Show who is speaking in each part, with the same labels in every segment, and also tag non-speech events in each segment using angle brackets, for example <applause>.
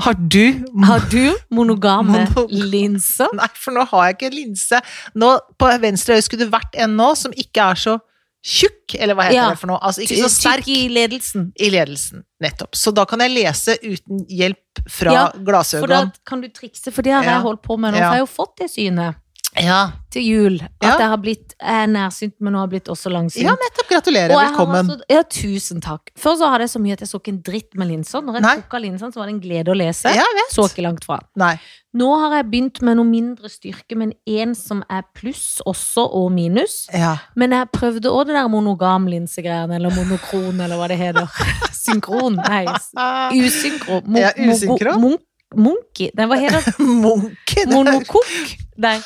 Speaker 1: Har du
Speaker 2: Har du monogame
Speaker 1: Monog-
Speaker 2: linser?
Speaker 1: Nei, for nå har jeg ikke en linse. Nå, på venstre øye skulle det vært en nå som ikke er så tjukk, eller hva heter
Speaker 2: Ja.
Speaker 1: det for noe? Altså ikke så
Speaker 2: Tykk
Speaker 1: sterk
Speaker 2: i ledelsen.
Speaker 1: i ledelsen, nettopp. Så da kan jeg lese uten hjelp fra
Speaker 2: Ja, For da
Speaker 1: glasøynene.
Speaker 2: kan du trikse, for det har
Speaker 1: Ja.
Speaker 2: jeg holdt på med nå.
Speaker 1: Ja.
Speaker 2: For jeg har jo fått det synet
Speaker 1: Ja.
Speaker 2: til jul.
Speaker 1: Ja.
Speaker 2: At jeg har blitt jeg er nærsynt, men nå har jeg blitt også langsynt.
Speaker 1: ja, nettopp.
Speaker 2: Og
Speaker 1: Gratulerer.
Speaker 2: jeg har
Speaker 1: Velkommen.
Speaker 2: altså- ja, tusen takk. Før så hadde jeg så mye at jeg så ikke en dritt med linser. Når jeg
Speaker 1: Nei.
Speaker 2: tok av linsene, så var det en glede å lese.
Speaker 1: Ja, jeg vet.
Speaker 2: Så ikke langt fra.
Speaker 1: Nei.
Speaker 2: Nå har jeg begynt med noe mindre styrke, men en som er pluss også, og minus.
Speaker 1: Ja.
Speaker 2: Men jeg prøvde også det der monogam linsegreiene, eller monokron, eller hva det
Speaker 1: <laughs>
Speaker 2: heter. Synkron, nei. s-
Speaker 1: Ah,
Speaker 2: Usynkron. Mo-
Speaker 1: Ja,
Speaker 2: mo-
Speaker 1: usynkron.
Speaker 2: mon- Monkey. Nei, hva heter
Speaker 1: <laughs>
Speaker 2: det?
Speaker 1: Munken!
Speaker 2: Monokokk? Nei.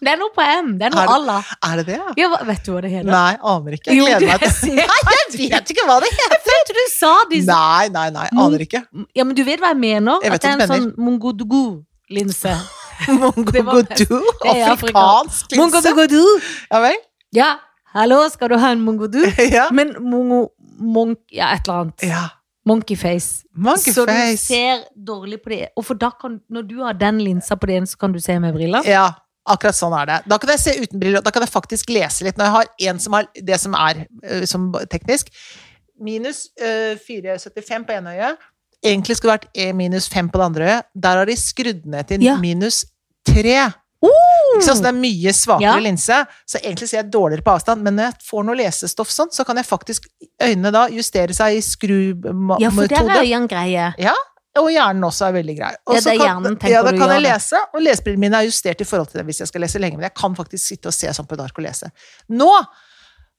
Speaker 2: Det er noe på M. Det er noe
Speaker 1: Er det-
Speaker 2: Allah.
Speaker 1: Er det det, ja?
Speaker 2: Ja, hva- vet du hva det heter?
Speaker 1: Nei, aner ikke. Jeg
Speaker 2: Jo, du
Speaker 1: gleder meg
Speaker 2: <laughs> er
Speaker 1: til
Speaker 2: sikker.
Speaker 1: Nei, jeg vet ikke hva det heter!
Speaker 2: Du sa de
Speaker 1: Nei, nei, nei. Aner ikke.
Speaker 2: Ja, men du vet hva jeg mener?
Speaker 1: Jeg vet
Speaker 2: at det er
Speaker 1: hva
Speaker 2: en
Speaker 1: du
Speaker 2: sånn mongodogo-linse. Det var best.
Speaker 1: Mongogodu?
Speaker 2: Det er
Speaker 1: Afrikansk linse?
Speaker 2: Mongodogodo!
Speaker 1: Ja vel? <laughs>
Speaker 2: Ja, hallo, skal du ha en mongodu?
Speaker 1: Ja.
Speaker 2: Men mongo... Monk... Ja, et eller annet.
Speaker 1: ja.
Speaker 2: Monkeyface. Så du
Speaker 1: Monkeyface.
Speaker 2: ser dårlig på det. Og for da kan, når du har den linsa på det ene, så kan du se med briller.
Speaker 1: Ja, akkurat sånn er det. Da kan jeg se uten briller, og da kan jeg faktisk lese litt. Når jeg har en som har det som er øh, som teknisk Minus øh, 4,75 på ene øyet. Egentlig skulle det vært eh, minus 5 på det andre øyet. Der har de skrudd ned til
Speaker 2: Ja. Oh!
Speaker 1: minus 3. Ikke sant? Så det er mye svakere
Speaker 2: Ja.
Speaker 1: linse. Så egentlig ser jeg dårligere på avstand, men når jeg får noe lesestoff sånn, så kan jeg faktisk Øynene da justere seg i skrumetode.
Speaker 2: Ja, for der er jo en greie.
Speaker 1: Og hjernen også er veldig grei. Og
Speaker 2: Ja,
Speaker 1: så
Speaker 2: det er
Speaker 1: kan-
Speaker 2: hjernen, tenker
Speaker 1: ja, da
Speaker 2: du
Speaker 1: kan
Speaker 2: gjør
Speaker 1: jeg
Speaker 2: det.
Speaker 1: lese, og lesebrillene mine er justert i forhold til det hvis jeg skal lese lenge, men jeg kan faktisk sitte og se sånn på dark og lese. Nå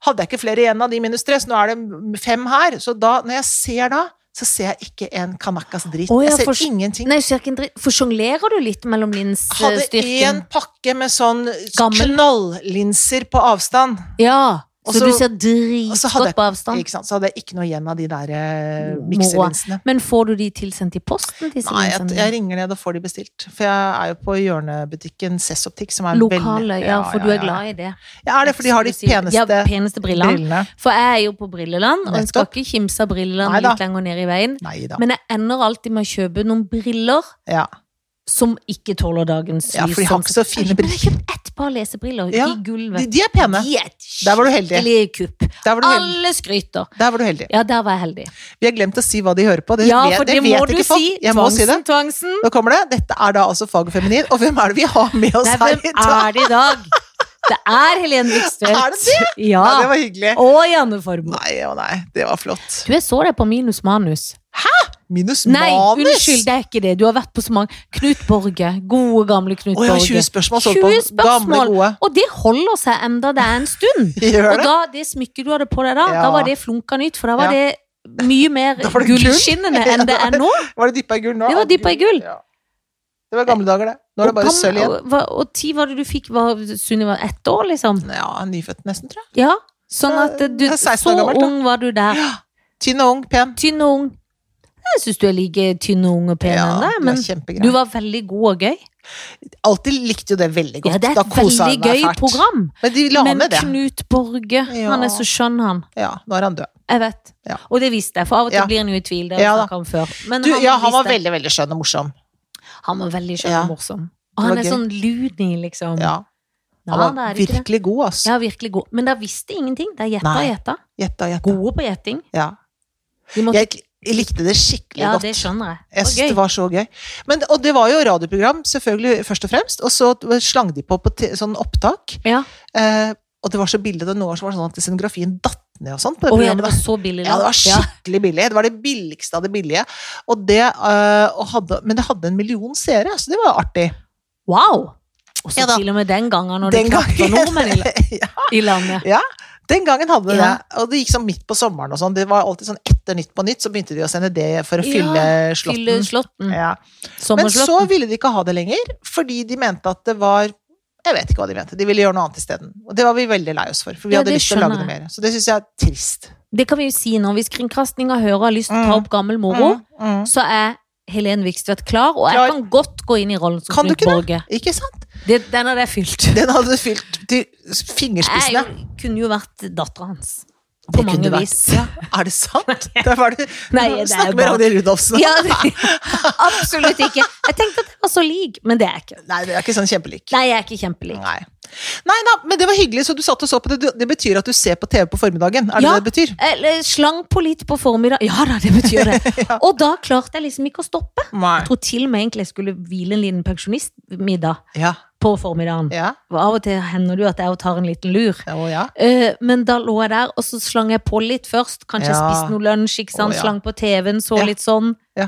Speaker 1: hadde jeg ikke flere igjen av de minus tre, så nå er det fem her. Så da, når jeg ser da, så ser jeg ikke en kanakas dritt.
Speaker 2: Å, ja,
Speaker 1: jeg ser
Speaker 2: for-
Speaker 1: ingenting.
Speaker 2: Nei, så er ikke en dritt. For sjonglerer du litt mellom eh,
Speaker 1: Hadde
Speaker 2: linsestyrken?
Speaker 1: én pakke med sånn
Speaker 2: Gammel.
Speaker 1: knalllinser på avstand.
Speaker 2: Ja.
Speaker 1: Og
Speaker 2: Så
Speaker 1: så-
Speaker 2: du ser
Speaker 1: og så hadde jeg-
Speaker 2: dritgodt på avstand.
Speaker 1: Ikke sant? Så hadde jeg ikke noe igjen av de der eh,
Speaker 2: Moroa.
Speaker 1: mikselinsene.
Speaker 2: Men får du de tilsendt i posten? sånn Disse
Speaker 1: Nei, jeg,
Speaker 2: linsene?
Speaker 1: jeg ringer ned og får de bestilt. For jeg er jo på hjørnebutikken Sess Optikk, som er
Speaker 2: Lokale, ja, for du er
Speaker 1: ja.
Speaker 2: glad i det.
Speaker 1: Ja, er det fordi de har de
Speaker 2: Eksklusive-
Speaker 1: peneste
Speaker 2: ja, peneste brillene.
Speaker 1: brillene?
Speaker 2: For jeg er jo på Brilleland, og en skal
Speaker 1: Nettopp.
Speaker 2: ikke kimse av brillene
Speaker 1: Neida.
Speaker 2: litt lenger ned i veien.
Speaker 1: Nei da.
Speaker 2: Men jeg ender alltid med å kjøpe noen briller
Speaker 1: Ja.
Speaker 2: som ikke tåler dagens lys.
Speaker 1: ja, for de har
Speaker 2: sånn
Speaker 1: ikke
Speaker 2: som-
Speaker 1: så fine
Speaker 2: Jeg har
Speaker 1: briller.
Speaker 2: kjøpt ett par lesebriller
Speaker 1: Ja,
Speaker 2: i
Speaker 1: De,
Speaker 2: gulvet.
Speaker 1: de er pene.
Speaker 2: De er et
Speaker 1: Der var du heldig.
Speaker 2: skikkelig kupp.
Speaker 1: Der var du heldig.
Speaker 2: Alle skryter.
Speaker 1: Der var du heldig.
Speaker 2: Ja, der var jeg heldig.
Speaker 1: Vi har glemt å si hva de hører på. Det,
Speaker 2: Ja,
Speaker 1: vet,
Speaker 2: for det,
Speaker 1: det
Speaker 2: må
Speaker 1: vet
Speaker 2: du
Speaker 1: ikke folk.
Speaker 2: si.
Speaker 1: Jeg må si det.
Speaker 2: Tvangsen, tvangsen.
Speaker 1: Nå kommer det. Dette er da altså Fag og feminin. Og hvem er det vi har med oss
Speaker 2: Nei,
Speaker 1: her i
Speaker 2: hvem
Speaker 1: <laughs> dag?
Speaker 2: er det i dag? Det er Helene Vikstvedt.
Speaker 1: Er det det?
Speaker 2: Ja.
Speaker 1: Nei, det var hyggelig.
Speaker 2: Og Janne Formoe.
Speaker 1: Nei, å nei. Det var flott.
Speaker 2: Du, jeg så deg på Minus Manus.
Speaker 1: Minus
Speaker 2: Nei,
Speaker 1: manus.
Speaker 2: unnskyld, det er ikke det. Du har vært på så mange. Knut Borge. Gode, gamle Knut
Speaker 1: Å ja, 20
Speaker 2: Borge.
Speaker 1: spørsmål så du på.
Speaker 2: 20 spørsmål.
Speaker 1: Gamle, gode.
Speaker 2: Og det holder seg enda det er en stund.
Speaker 1: Gjør
Speaker 2: Og
Speaker 1: det.
Speaker 2: da, det smykket du hadde på deg da,
Speaker 1: Ja.
Speaker 2: da var det flunka nytt, for da
Speaker 1: Ja.
Speaker 2: var det mye mer
Speaker 1: <laughs> Da var det gull.
Speaker 2: gullskinnende enn det
Speaker 1: <laughs>
Speaker 2: er nå.
Speaker 1: Var det dyppa i gull nå?
Speaker 2: Det var dyppa i gull.
Speaker 1: Ja. Det var gamle dager, det. Nå er det bare
Speaker 2: Og
Speaker 1: sølv igjen.
Speaker 2: gammel- Og, hva- og ti var det du fikk? Var Sunniva ett år, liksom?
Speaker 1: Ja, nyfødt nesten, tror jeg.
Speaker 2: Ja. Sånn at du,
Speaker 1: Det er 16
Speaker 2: så
Speaker 1: år gammelt, da.
Speaker 2: ung var du der.
Speaker 1: Tynn og ung, pen.
Speaker 2: Tynn og ung. Jeg syns du er like tynn og ung og pen enn deg,
Speaker 1: du er
Speaker 2: men
Speaker 1: kjempegrei.
Speaker 2: du var veldig god og gøy.
Speaker 1: alltid likte jo det veldig godt.
Speaker 2: Ja, det er
Speaker 1: Da
Speaker 2: et
Speaker 1: koset jeg
Speaker 2: veldig
Speaker 1: meg
Speaker 2: gøy
Speaker 1: fælt.
Speaker 2: program.
Speaker 1: Men de la
Speaker 2: Men
Speaker 1: ned det.
Speaker 2: Knut Borge,
Speaker 1: Ja.
Speaker 2: han er så skjønn, han.
Speaker 1: Ja, nå er han død.
Speaker 2: Jeg vet.
Speaker 1: Ja.
Speaker 2: Og det visste jeg, for av og til
Speaker 1: Ja.
Speaker 2: blir han jo i tvil. Det har
Speaker 1: Ja,
Speaker 2: vi
Speaker 1: da.
Speaker 2: snakket om før. Men
Speaker 1: Du, ja, han var
Speaker 2: visste-
Speaker 1: veldig, veldig skjønn og morsom.
Speaker 2: han var veldig skjønn
Speaker 1: Ja.
Speaker 2: og morsom. Og
Speaker 1: Det
Speaker 2: han
Speaker 1: var
Speaker 2: er
Speaker 1: gøy.
Speaker 2: sånn loony, liksom.
Speaker 1: Ja,
Speaker 2: Nei,
Speaker 1: han
Speaker 2: det er
Speaker 1: var
Speaker 2: ikke det.
Speaker 1: virkelig god, ass.
Speaker 2: Ja, virkelig god. Men da visste ingenting. Det er gjetta og
Speaker 1: Nei.
Speaker 2: gjetta.
Speaker 1: Gjetta, gjetta.
Speaker 2: Gode på gjetting.
Speaker 1: Ja.
Speaker 2: De måtte...
Speaker 1: Jeg jeg likte det skikkelig
Speaker 2: Ja,
Speaker 1: godt.
Speaker 2: det skjønner jeg.
Speaker 1: Jeg
Speaker 2: Det
Speaker 1: synes det
Speaker 2: var gøy.
Speaker 1: var så gøy. Men, og det var jo radioprogram, selvfølgelig, først og fremst. Og så slang de på på te- sånn opptak.
Speaker 2: Ja.
Speaker 1: Eh, og det var så billig. Det var noen år som var sånn at scenografien datt ned og sånn. på det
Speaker 2: Å ja,
Speaker 1: programmet.
Speaker 2: det
Speaker 1: da.
Speaker 2: var så billig.
Speaker 1: Ja, det var
Speaker 2: Ja.
Speaker 1: skikkelig billig. Det var det billigste av det billige. Og det, øh, og hadde, men det hadde en million seere, så det var artig.
Speaker 2: Wow! Og så
Speaker 1: Ja da.
Speaker 2: til og med den gangen når
Speaker 1: Den
Speaker 2: det knapt var
Speaker 1: gangen.
Speaker 2: nordmenn i, la-
Speaker 1: <laughs> ja,
Speaker 2: i landet.
Speaker 1: den gangen hadde det
Speaker 2: Ja.
Speaker 1: det. Og det gikk sånn midt på sommeren og sånn. Det var alltid sånn etter Nytt på Nytt, så begynte de å sende det for å
Speaker 2: Ja,
Speaker 1: fylle
Speaker 2: Fylle
Speaker 1: <laughs> slåtten.
Speaker 2: eh, slåtten.
Speaker 1: Ja. Men så
Speaker 2: Sommerslåtten.
Speaker 1: ville de ikke ha det lenger, fordi de mente at det var jeg vet ikke hva de mente. De ville gjøre noe annet isteden. Og det var vi veldig lei oss for. For vi
Speaker 2: Ja,
Speaker 1: hadde
Speaker 2: det
Speaker 1: lyst til å lage
Speaker 2: skjønner
Speaker 1: noe mer. Så det syns jeg er trist.
Speaker 2: Det kan vi jo si nå. Hvis kringkastinga hører og har lyst til å
Speaker 1: Mm.
Speaker 2: ta opp gammel moro,
Speaker 1: Mm, mm.
Speaker 2: så er Helen Vikstvedt klar, og jeg
Speaker 1: Klar.
Speaker 2: kan godt gå inn i rollen som
Speaker 1: Kan du
Speaker 2: Knut
Speaker 1: ikke det?
Speaker 2: Borge.
Speaker 1: Ikke sant?
Speaker 2: Det, den hadde jeg fylt.
Speaker 1: Den hadde du fylt til
Speaker 2: Jeg
Speaker 1: fingerspissene.
Speaker 2: kunne jo vært dattera hans. På
Speaker 1: Det kunne
Speaker 2: mange
Speaker 1: vært-
Speaker 2: vis. <laughs>
Speaker 1: Ja, er det sant? Der var det,
Speaker 2: Nei,
Speaker 1: du
Speaker 2: det er
Speaker 1: snakker med
Speaker 2: bare-
Speaker 1: Ragnhild Rudolfsen.
Speaker 2: Ja,
Speaker 1: <laughs>
Speaker 2: absolutt ikke. Jeg tenkte at jeg var så lik, men det er jeg ikke.
Speaker 1: Nei, det er ikke sånn kjempelik.
Speaker 2: Nei, jeg er ikke kjempelik.
Speaker 1: Nei. Nei da, men det var hyggelig, så du satt og så på det. Du- Det betyr at du ser på TV på formiddagen? Er det
Speaker 2: Ja.
Speaker 1: det det betyr?
Speaker 2: Eller Slang på litt på formiddag. Ja da, det betyr det.
Speaker 1: <laughs>
Speaker 2: Og da klarte jeg liksom ikke å stoppe.
Speaker 1: Nei.
Speaker 2: Jeg tror til og med egentlig jeg skulle hvile en liten pensjonistmiddag
Speaker 1: Ja.
Speaker 2: på formiddagen.
Speaker 1: Ja.
Speaker 2: Og Av og til hender det jo at jeg også tar en liten lur.
Speaker 1: Å ja.
Speaker 2: Eh, Men da lå jeg der, og så slang jeg på litt først. Kanskje jeg
Speaker 1: Ja.
Speaker 2: spiste noe lunsj, ikke sant?
Speaker 1: Å, ja.
Speaker 2: slang på TV-en, så
Speaker 1: Ja.
Speaker 2: litt sånn.
Speaker 1: Ja.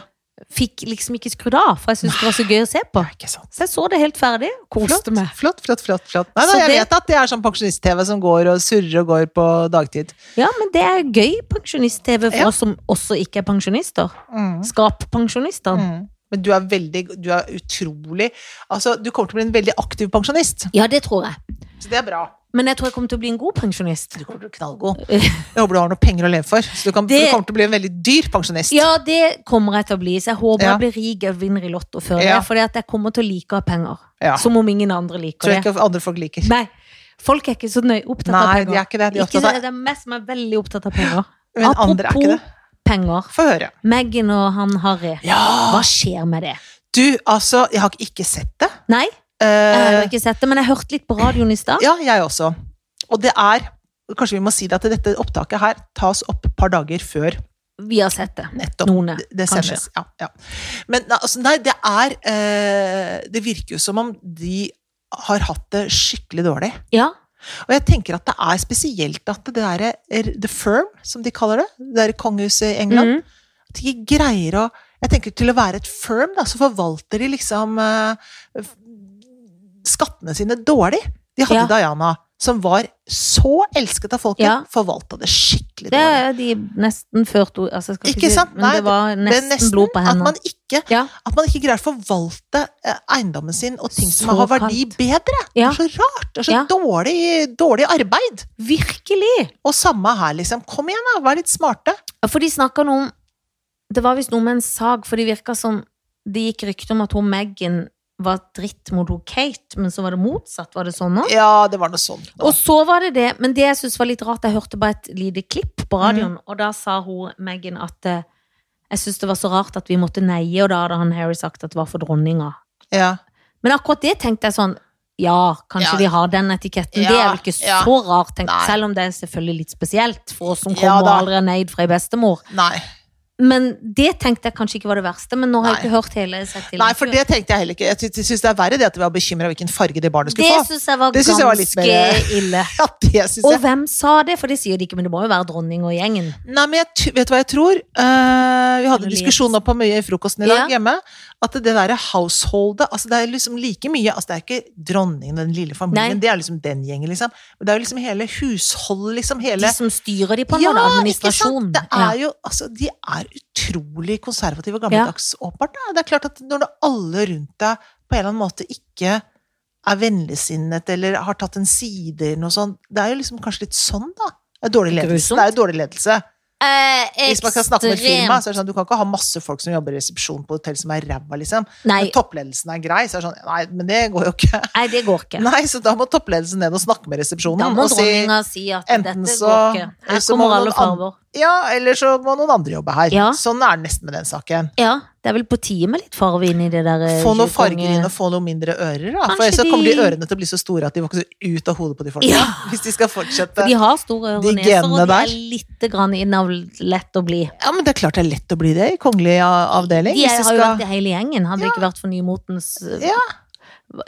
Speaker 2: Fikk liksom ikke skrudd av, for jeg syntes det var så gøy å se på.
Speaker 1: Ikke sant.
Speaker 2: Så jeg så det helt ferdig.
Speaker 1: Flott,
Speaker 2: Koste meg.
Speaker 1: flott, flott. flott, flott. Nei,
Speaker 2: Så
Speaker 1: da, jeg
Speaker 2: det-
Speaker 1: vet at det er sånn pensjonist-TV som går og surrer og går på dagtid.
Speaker 2: Ja, men det er gøy pensjonist-TV for
Speaker 1: Ja.
Speaker 2: oss som også ikke er pensjonister.
Speaker 1: Mm.
Speaker 2: Skap pensjonistene.
Speaker 1: Mm. Men du er veldig, du er utrolig Altså, du kommer til å bli en veldig aktiv pensjonist.
Speaker 2: Ja, det tror jeg.
Speaker 1: Så det er bra.
Speaker 2: Men jeg tror jeg kommer til å bli en god pensjonist.
Speaker 1: Du kommer til å bli
Speaker 2: <laughs>
Speaker 1: knallgod. Jeg håper du har noe penger å leve for. Så du, kan,
Speaker 2: Det-
Speaker 1: du kommer til å bli en veldig dyr pensjonist.
Speaker 2: Ja, det kommer jeg til å bli. Så jeg håper
Speaker 1: Ja.
Speaker 2: jeg blir rik og vinner i Lotto før
Speaker 1: Ja.
Speaker 2: det. For jeg kommer til å like å ha penger.
Speaker 1: Ja.
Speaker 2: Som om ingen andre liker
Speaker 1: Tror
Speaker 2: det.
Speaker 1: jeg ikke andre folk liker.
Speaker 2: Nei, folk er ikke så nøye opptatt av
Speaker 1: Nei,
Speaker 2: penger.
Speaker 1: de er ikke det. De er
Speaker 2: Ikke
Speaker 1: opptatt av-
Speaker 2: det, det er meg som er veldig opptatt av penger.
Speaker 1: Men andre er ikke det.
Speaker 2: penger.
Speaker 1: Få høre.
Speaker 2: Meghan og han Harry.
Speaker 1: Ja!
Speaker 2: Hva skjer med det?
Speaker 1: Du, altså, jeg har ikke sett det.
Speaker 2: Nei, jeg har
Speaker 1: Eh,
Speaker 2: jo ikke sett det, men jeg hørte litt på radioen i stad.
Speaker 1: ja, jeg også. Og det er Kanskje vi må si det at dette opptaket her tas opp et par dager før
Speaker 2: Vi har sett det.
Speaker 1: nettopp
Speaker 2: Noen,
Speaker 1: det, det
Speaker 2: kanskje.
Speaker 1: sendes. Ja, ja. Men nei, altså, nei, det er eh, Det virker jo som om de har hatt det skikkelig dårlig.
Speaker 2: Ja.
Speaker 1: Og jeg tenker at det er spesielt at det derre er- The Firm, som de kaller det, det derre kongehuset i England,
Speaker 2: Mm.
Speaker 1: at de ikke greier å Jeg tenker til å være et firm, da, så forvalter de liksom eh, f- skattene sine dårlig. De hadde
Speaker 2: Ja.
Speaker 1: Diana, som var så elsket av folket,
Speaker 2: Ja.
Speaker 1: forvalta det skikkelig
Speaker 2: Det
Speaker 1: dårlig.
Speaker 2: er de nesten ført ord altså, jeg skal
Speaker 1: Ikke
Speaker 2: si-
Speaker 1: sant?
Speaker 2: Men
Speaker 1: Nei,
Speaker 2: det var
Speaker 1: Det
Speaker 2: nesten,
Speaker 1: er nesten
Speaker 2: blod på
Speaker 1: at
Speaker 2: hendene.
Speaker 1: man ikke
Speaker 2: Ja.
Speaker 1: at man ikke greier å forvalte eh, eiendommen sin og ting som
Speaker 2: Så
Speaker 1: har verdi, bedre.
Speaker 2: Ja.
Speaker 1: Det er så rart. Det er så
Speaker 2: Ja.
Speaker 1: dårlig, dårlig arbeid.
Speaker 2: Virkelig!
Speaker 1: Og samme her, liksom. Kom igjen, da. Vær litt smarte.
Speaker 2: Ja, For de snakka noe om Det var visst noe med en sag, for det virka som det gikk rykte om at hun Meghan var dritt mot hun Kate, men så var det motsatt. Var det sånn nå?
Speaker 1: Ja, det var noe sånt. nå.
Speaker 2: Og så var det det, men det jeg synes var litt rart, jeg hørte bare et lite klipp på radioen,
Speaker 1: Mm.
Speaker 2: og da sa hun, Meghan, at eh, jeg synes det var så rart at vi måtte neie, og da hadde han Harry sagt at det var for dronninga.
Speaker 1: Ja.
Speaker 2: Men akkurat det tenkte jeg sånn, ja, kanskje
Speaker 1: Ja.
Speaker 2: de har den etiketten,
Speaker 1: Ja,
Speaker 2: det er vel ikke
Speaker 1: ja.
Speaker 2: så rart, tenkt,
Speaker 1: Nei.
Speaker 2: selv om det er selvfølgelig litt spesielt for oss som
Speaker 1: Ja
Speaker 2: kommer og
Speaker 1: da.
Speaker 2: aldri har neid fra ei bestemor.
Speaker 1: Nei.
Speaker 2: Men det tenkte jeg kanskje ikke var det verste, men nå har jeg
Speaker 1: Nei.
Speaker 2: ikke hørt hele sett til.
Speaker 1: Nei, for det tenkte jeg heller ikke. Jeg sy- jeg syns det er verre det at vi var bekymra hvilken farge det barnet
Speaker 2: Det
Speaker 1: skulle få.
Speaker 2: synes jeg var
Speaker 1: Det synes jeg var litt
Speaker 2: ganske
Speaker 1: mer-
Speaker 2: <laughs> ille.
Speaker 1: Ja, det synes
Speaker 2: Og
Speaker 1: jeg.
Speaker 2: hvem sa det? For det sier de ikke, men det må jo være dronning og gjengen.
Speaker 1: Nei, men jeg, t- vet du hva jeg tror? Eh, vi hadde
Speaker 2: Eller
Speaker 1: diskusjon oppe mye i frokosten i dag hjemme. At det derre householdet altså Det er liksom like mye altså Det er ikke dronningen og den lille familien,
Speaker 2: Nei.
Speaker 1: det er liksom den gjengen, liksom. Men det er jo liksom hele husholdet, liksom. Hele
Speaker 2: De som styrer de på en måte, administrasjon.
Speaker 1: Ikke sant? Det er jo, altså, de er utrolig konservative og gammeldags, åpenbart. da. Det er klart at når det alle rundt deg på en eller annen måte ikke er vennligsinnet eller har tatt en side eller noe sånt, det er jo liksom kanskje litt sånn, da. Det er dårlig ledelse.
Speaker 2: Grusomt.
Speaker 1: Det er jo dårlig ledelse.
Speaker 2: ja. eh,
Speaker 1: Hvis man skal snakke om et firma,
Speaker 2: ekstremt.
Speaker 1: så er det sånn, du kan ikke ha masse folk som jobber i resepsjon på hotell som er ræva, liksom.
Speaker 2: Nei,
Speaker 1: Men toppledelsen er grei, så er det sånn Nei, men det går jo
Speaker 2: <laughs>
Speaker 1: ikke.
Speaker 2: nei, det går ikke.
Speaker 1: Nei, så da må toppledelsen ned og snakke med resepsjonen.
Speaker 2: Da må
Speaker 1: og si-
Speaker 2: dronninga si at dette
Speaker 1: enten så-
Speaker 2: går ikke.
Speaker 1: eller
Speaker 2: Her
Speaker 1: så må
Speaker 2: kommer alle
Speaker 1: noen an-
Speaker 2: farver.
Speaker 1: Ja, eller så må noen andre jobbe her.
Speaker 2: Ja.
Speaker 1: Sånn er det nesten med den saken.
Speaker 2: Ja, det er vel på tide med litt farve inn i det der eh,
Speaker 1: Få noen
Speaker 2: tjuekonge-
Speaker 1: farger inn og få noen mindre ører, da. For
Speaker 2: Kanskje
Speaker 1: ellers så kommer de
Speaker 2: de-
Speaker 1: ørene til å bli så store at de vokser ut av hodet på de folka.
Speaker 2: Ja.
Speaker 1: <laughs> Hvis de skal
Speaker 2: For
Speaker 1: fortsette.
Speaker 2: de har store ører
Speaker 1: De
Speaker 2: og neser, og
Speaker 1: genene
Speaker 2: de
Speaker 1: der.
Speaker 2: er litt grann innavl lett å bli.
Speaker 1: Ja, men det er klart det er lett å bli det i kongelig a- avdeling.
Speaker 2: De
Speaker 1: Hvis
Speaker 2: har
Speaker 1: du
Speaker 2: jo vært
Speaker 1: skal
Speaker 2: det hele gjengen, hadde det ikke vært for nymotens eh,
Speaker 1: Ja.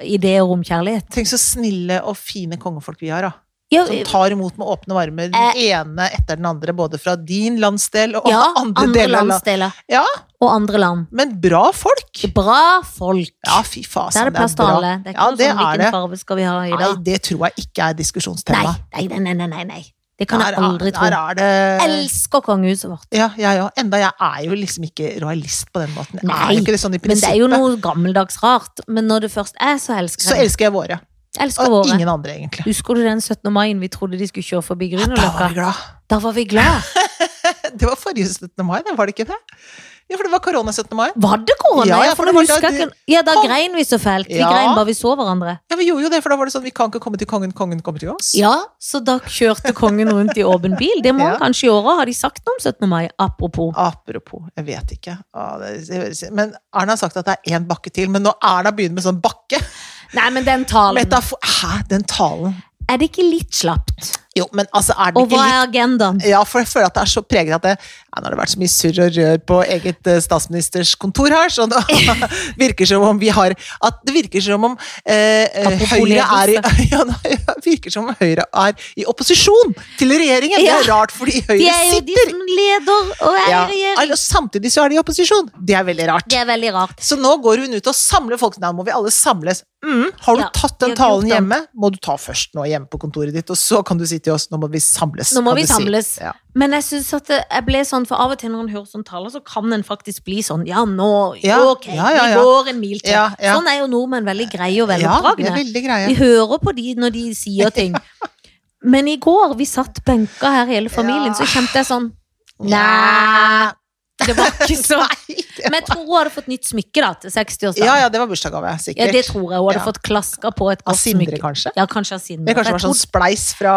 Speaker 2: ideer om kjærlighet.
Speaker 1: Tenk så snille og fine kongefolk vi har, da.
Speaker 2: Ja,
Speaker 1: Som tar imot med åpne varmer den ene etter den andre, både fra din landsdel og
Speaker 2: eh, ja
Speaker 1: <laughs> andre,
Speaker 2: andre,
Speaker 1: deler av landet.
Speaker 2: landsdeler.
Speaker 1: Ja.
Speaker 2: Og andre land.
Speaker 1: Men bra folk!
Speaker 2: Bra folk!
Speaker 1: Ja, fy
Speaker 2: Der er
Speaker 1: fasen,
Speaker 2: det plass til
Speaker 1: bra.
Speaker 2: alle. Det er ikke
Speaker 1: Ja,
Speaker 2: noe
Speaker 1: det
Speaker 2: sånn
Speaker 1: er det.
Speaker 2: hvilken farve skal vi ha i
Speaker 1: Nei,
Speaker 2: dag.
Speaker 1: det tror jeg ikke er
Speaker 2: Nei,
Speaker 1: diskusjonstema.
Speaker 2: nei, nei, nei, nei, nei. Det kan jeg
Speaker 1: Der er-
Speaker 2: aldri tro.
Speaker 1: Der er det
Speaker 2: Elsker kongehuset vårt.
Speaker 1: Ja, ja, ja. Enda jeg er jo liksom ikke royalist på den måten. Jeg
Speaker 2: Nei,
Speaker 1: er jo ikke det sånn i
Speaker 2: Men det
Speaker 1: prinsippet.
Speaker 2: er jo noe gammeldags rart. Men når det først er, så elsker
Speaker 1: Så
Speaker 2: jeg det.
Speaker 1: elsker jeg våre.
Speaker 2: Elsker
Speaker 1: Og
Speaker 2: våre.
Speaker 1: ingen andre, egentlig.
Speaker 2: Husker du den 17. mai vi trodde de skulle kjøre forbi
Speaker 1: Da var vi
Speaker 2: Grünerløkka?
Speaker 1: glad.
Speaker 2: Da var vi glad.
Speaker 1: Det var forrige 17. mai, det, var det ikke det? Ja, for det var korona 17. mai.
Speaker 2: Var det korona?
Speaker 1: Ja,
Speaker 2: Ja,
Speaker 1: ja, for
Speaker 2: for
Speaker 1: det
Speaker 2: da
Speaker 1: var
Speaker 2: husker
Speaker 1: da
Speaker 2: jeg
Speaker 1: du-
Speaker 2: ikke Ja, da
Speaker 1: Kom.
Speaker 2: grein vi så fælt. Vi
Speaker 1: Ja.
Speaker 2: grein bare vi så hverandre.
Speaker 1: Ja, vi gjorde jo det, for da var det sånn vi kan ikke komme til kongen, kongen kommer til oss.
Speaker 2: Ja, så da kjørte kongen rundt i åpen bil. Det må han
Speaker 1: Ja.
Speaker 2: kanskje gjøre, har de sagt noe om 17. mai? Apropos.
Speaker 1: Apropos, jeg vet ikke. Å, det- det høres- Men Erna har sagt at det er én bakke til. Men når Erna begynner med sånn bakke
Speaker 2: Nei, men den talen.
Speaker 1: metafor, Hæ, den talen?
Speaker 2: Er det ikke litt slapt?
Speaker 1: Jo, men altså, er den
Speaker 2: Og
Speaker 1: ikke
Speaker 2: hva
Speaker 1: litt
Speaker 2: er agendaen?
Speaker 1: ja, for jeg føler at det er så preget at det, ja, Nå har det vært så mye surr og rør på eget eh, statsministers kontor her, så det <laughs> virker som om vi har At det virker som om eh, eh,
Speaker 2: Apropos
Speaker 1: Høyre er i, <laughs>
Speaker 2: ledelse.
Speaker 1: ja, nei, det virker som om Høyre er i opposisjon til regjeringen!
Speaker 2: Ja.
Speaker 1: Det er rart, fordi
Speaker 2: De
Speaker 1: Høyre
Speaker 2: er jo de
Speaker 1: sitter
Speaker 2: som leder og er i
Speaker 1: Ja.
Speaker 2: regjering.
Speaker 1: Og samtidig så er de i opposisjon. Det er veldig rart.
Speaker 2: Det er veldig rart.
Speaker 1: Så nå går hun ut og samler folk. Nå må vi alle samles. Mm. Har du
Speaker 2: Ja,
Speaker 1: tatt
Speaker 2: vi
Speaker 1: den
Speaker 2: har
Speaker 1: talen
Speaker 2: gjort det.
Speaker 1: hjemme, må du ta først nå hjemme på kontoret ditt, og så kan du si til oss nå må vi samles.
Speaker 2: Nå må
Speaker 1: kan
Speaker 2: vi
Speaker 1: du si.
Speaker 2: samles.
Speaker 1: Ja.
Speaker 2: Men jeg synes at det- jeg ble sånn, for av og til når en hører sånn taler, så kan en faktisk bli sånn Ja, nå,
Speaker 1: Ja,
Speaker 2: ok,
Speaker 1: ja, ja,
Speaker 2: vi
Speaker 1: ja.
Speaker 2: går en mil til.
Speaker 1: Ja, ja.
Speaker 2: Sånn er jo nordmenn veldig greie og
Speaker 1: ja, det er
Speaker 2: veloppdragne.
Speaker 1: veldig greie.
Speaker 2: vi hører på de når de sier ting.
Speaker 1: <laughs>
Speaker 2: Men i går, vi satt benka her hele familien,
Speaker 1: Ja.
Speaker 2: så kjente jeg sånn Nei. Det var ikke så
Speaker 1: <laughs> Nei, det-
Speaker 2: Men jeg tror hun hadde fått nytt smykke da, til 60-årsdagen.
Speaker 1: Ja, ja, det var bursdagsgave,
Speaker 2: Ja,
Speaker 1: sikkert.
Speaker 2: det tror jeg. Hun hadde
Speaker 1: Ja.
Speaker 2: fått klaska på et
Speaker 1: Av
Speaker 2: godt
Speaker 1: Sindre,
Speaker 2: smykke.
Speaker 1: kanskje?
Speaker 2: Ja, kanskje av Sindre.
Speaker 1: Det kanskje
Speaker 2: For
Speaker 1: var
Speaker 2: jeg
Speaker 1: sånn
Speaker 2: tror-
Speaker 1: spleis fra